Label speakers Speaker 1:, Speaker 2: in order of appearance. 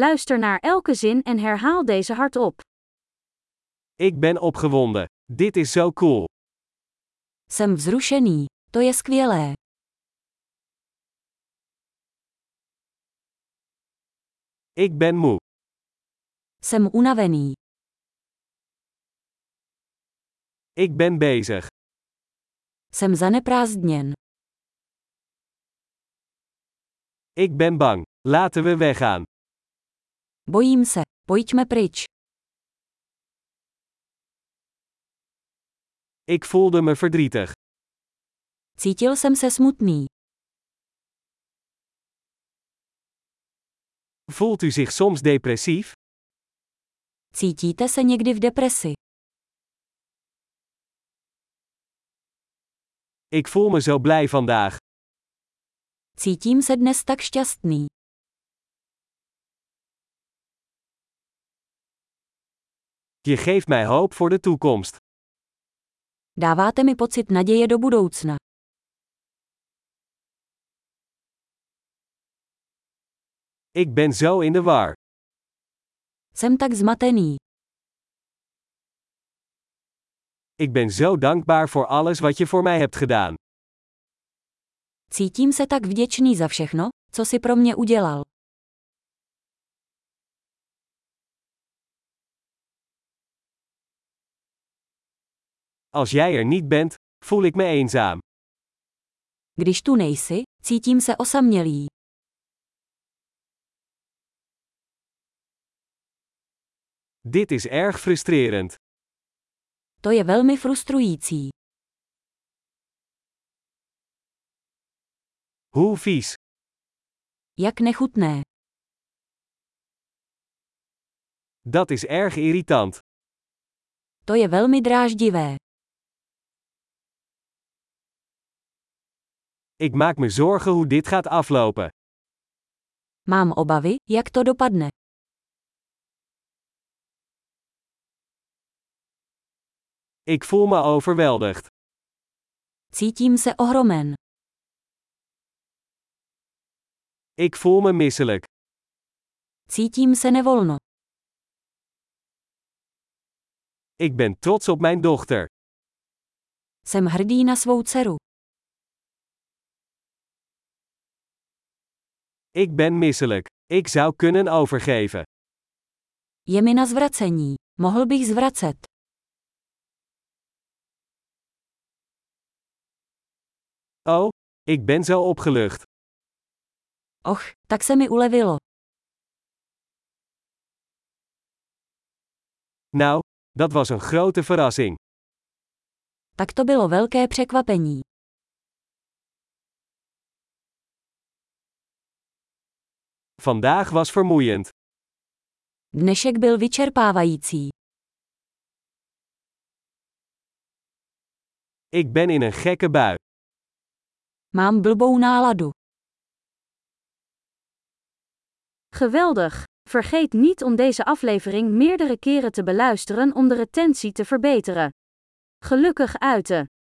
Speaker 1: Luister naar elke zin en herhaal deze hardop.
Speaker 2: Ik ben opgewonden. Dit is zo cool.
Speaker 3: Jsem vzrušený. To je skvělé.
Speaker 2: Ik ben moe.
Speaker 3: Jsem unavený.
Speaker 2: Ik ben bezig.
Speaker 3: Jsem zaneprázdněn.
Speaker 2: Ik ben bang. Laten we weggaan.
Speaker 3: Bojím se. Pojďme pryč.
Speaker 2: Ik voelde me verdrietig.
Speaker 3: Cítil jsem se smutný.
Speaker 2: Voelt u zich soms depressief?
Speaker 3: Cítíte se někdy v depresi?
Speaker 2: Ik voel me zo blij vandaag.
Speaker 3: Cítím se dnes tak šťastný.
Speaker 2: Je geeft mij hoop voor de toekomst.
Speaker 3: Dáváte mi pocit naděje do budoucna.
Speaker 2: Ik ben zo in de war.
Speaker 3: Jsem tak zmatený.
Speaker 2: Ik ben zo dankbaar voor alles wat je voor mij hebt gedaan.
Speaker 3: Cítím se tak vděčný za všechno, co si pro mě udělal.
Speaker 2: Als jij er niet bent, voel ik me eenzaam.
Speaker 3: Když tu nejsi, cítím se osamělý.
Speaker 2: Dit is erg frustrerend.
Speaker 3: To je velmi frustrující.
Speaker 2: Hoe vies.
Speaker 3: Jak nechutné.
Speaker 2: Dat is erg irritant.
Speaker 3: To je velmi dráždivé.
Speaker 2: Ik maak me zorgen hoe dit gaat aflopen.
Speaker 3: Mám obavy, jak to dopadne.
Speaker 2: Ik voel me overweldigd.
Speaker 3: Cítím se ohromen.
Speaker 2: Ik voel me misselijk.
Speaker 3: Cítím se nevolno.
Speaker 2: Ik ben trots op mijn dochter.
Speaker 3: Jsem hrdý na svou dceru.
Speaker 2: Ik ben misselijk. Ik zou kunnen overgeven.
Speaker 3: Je mi na zvracení. Mohl bych zvracet.
Speaker 2: Oh, ik ben zo opgelucht.
Speaker 3: Och, tak se mi ulevilo.
Speaker 2: Nou, dat was een grote verrassing.
Speaker 3: Tak to bylo velké překvapení.
Speaker 2: Vandaag was vermoeiend.
Speaker 3: Dnešek byl vyčerpávající.
Speaker 2: Ik ben in een gekke bui.
Speaker 3: Mám blbou náladu.
Speaker 1: Geweldig! Vergeet niet om deze aflevering meerdere keren te beluisteren om de retentie te verbeteren. Gelukkig uiten!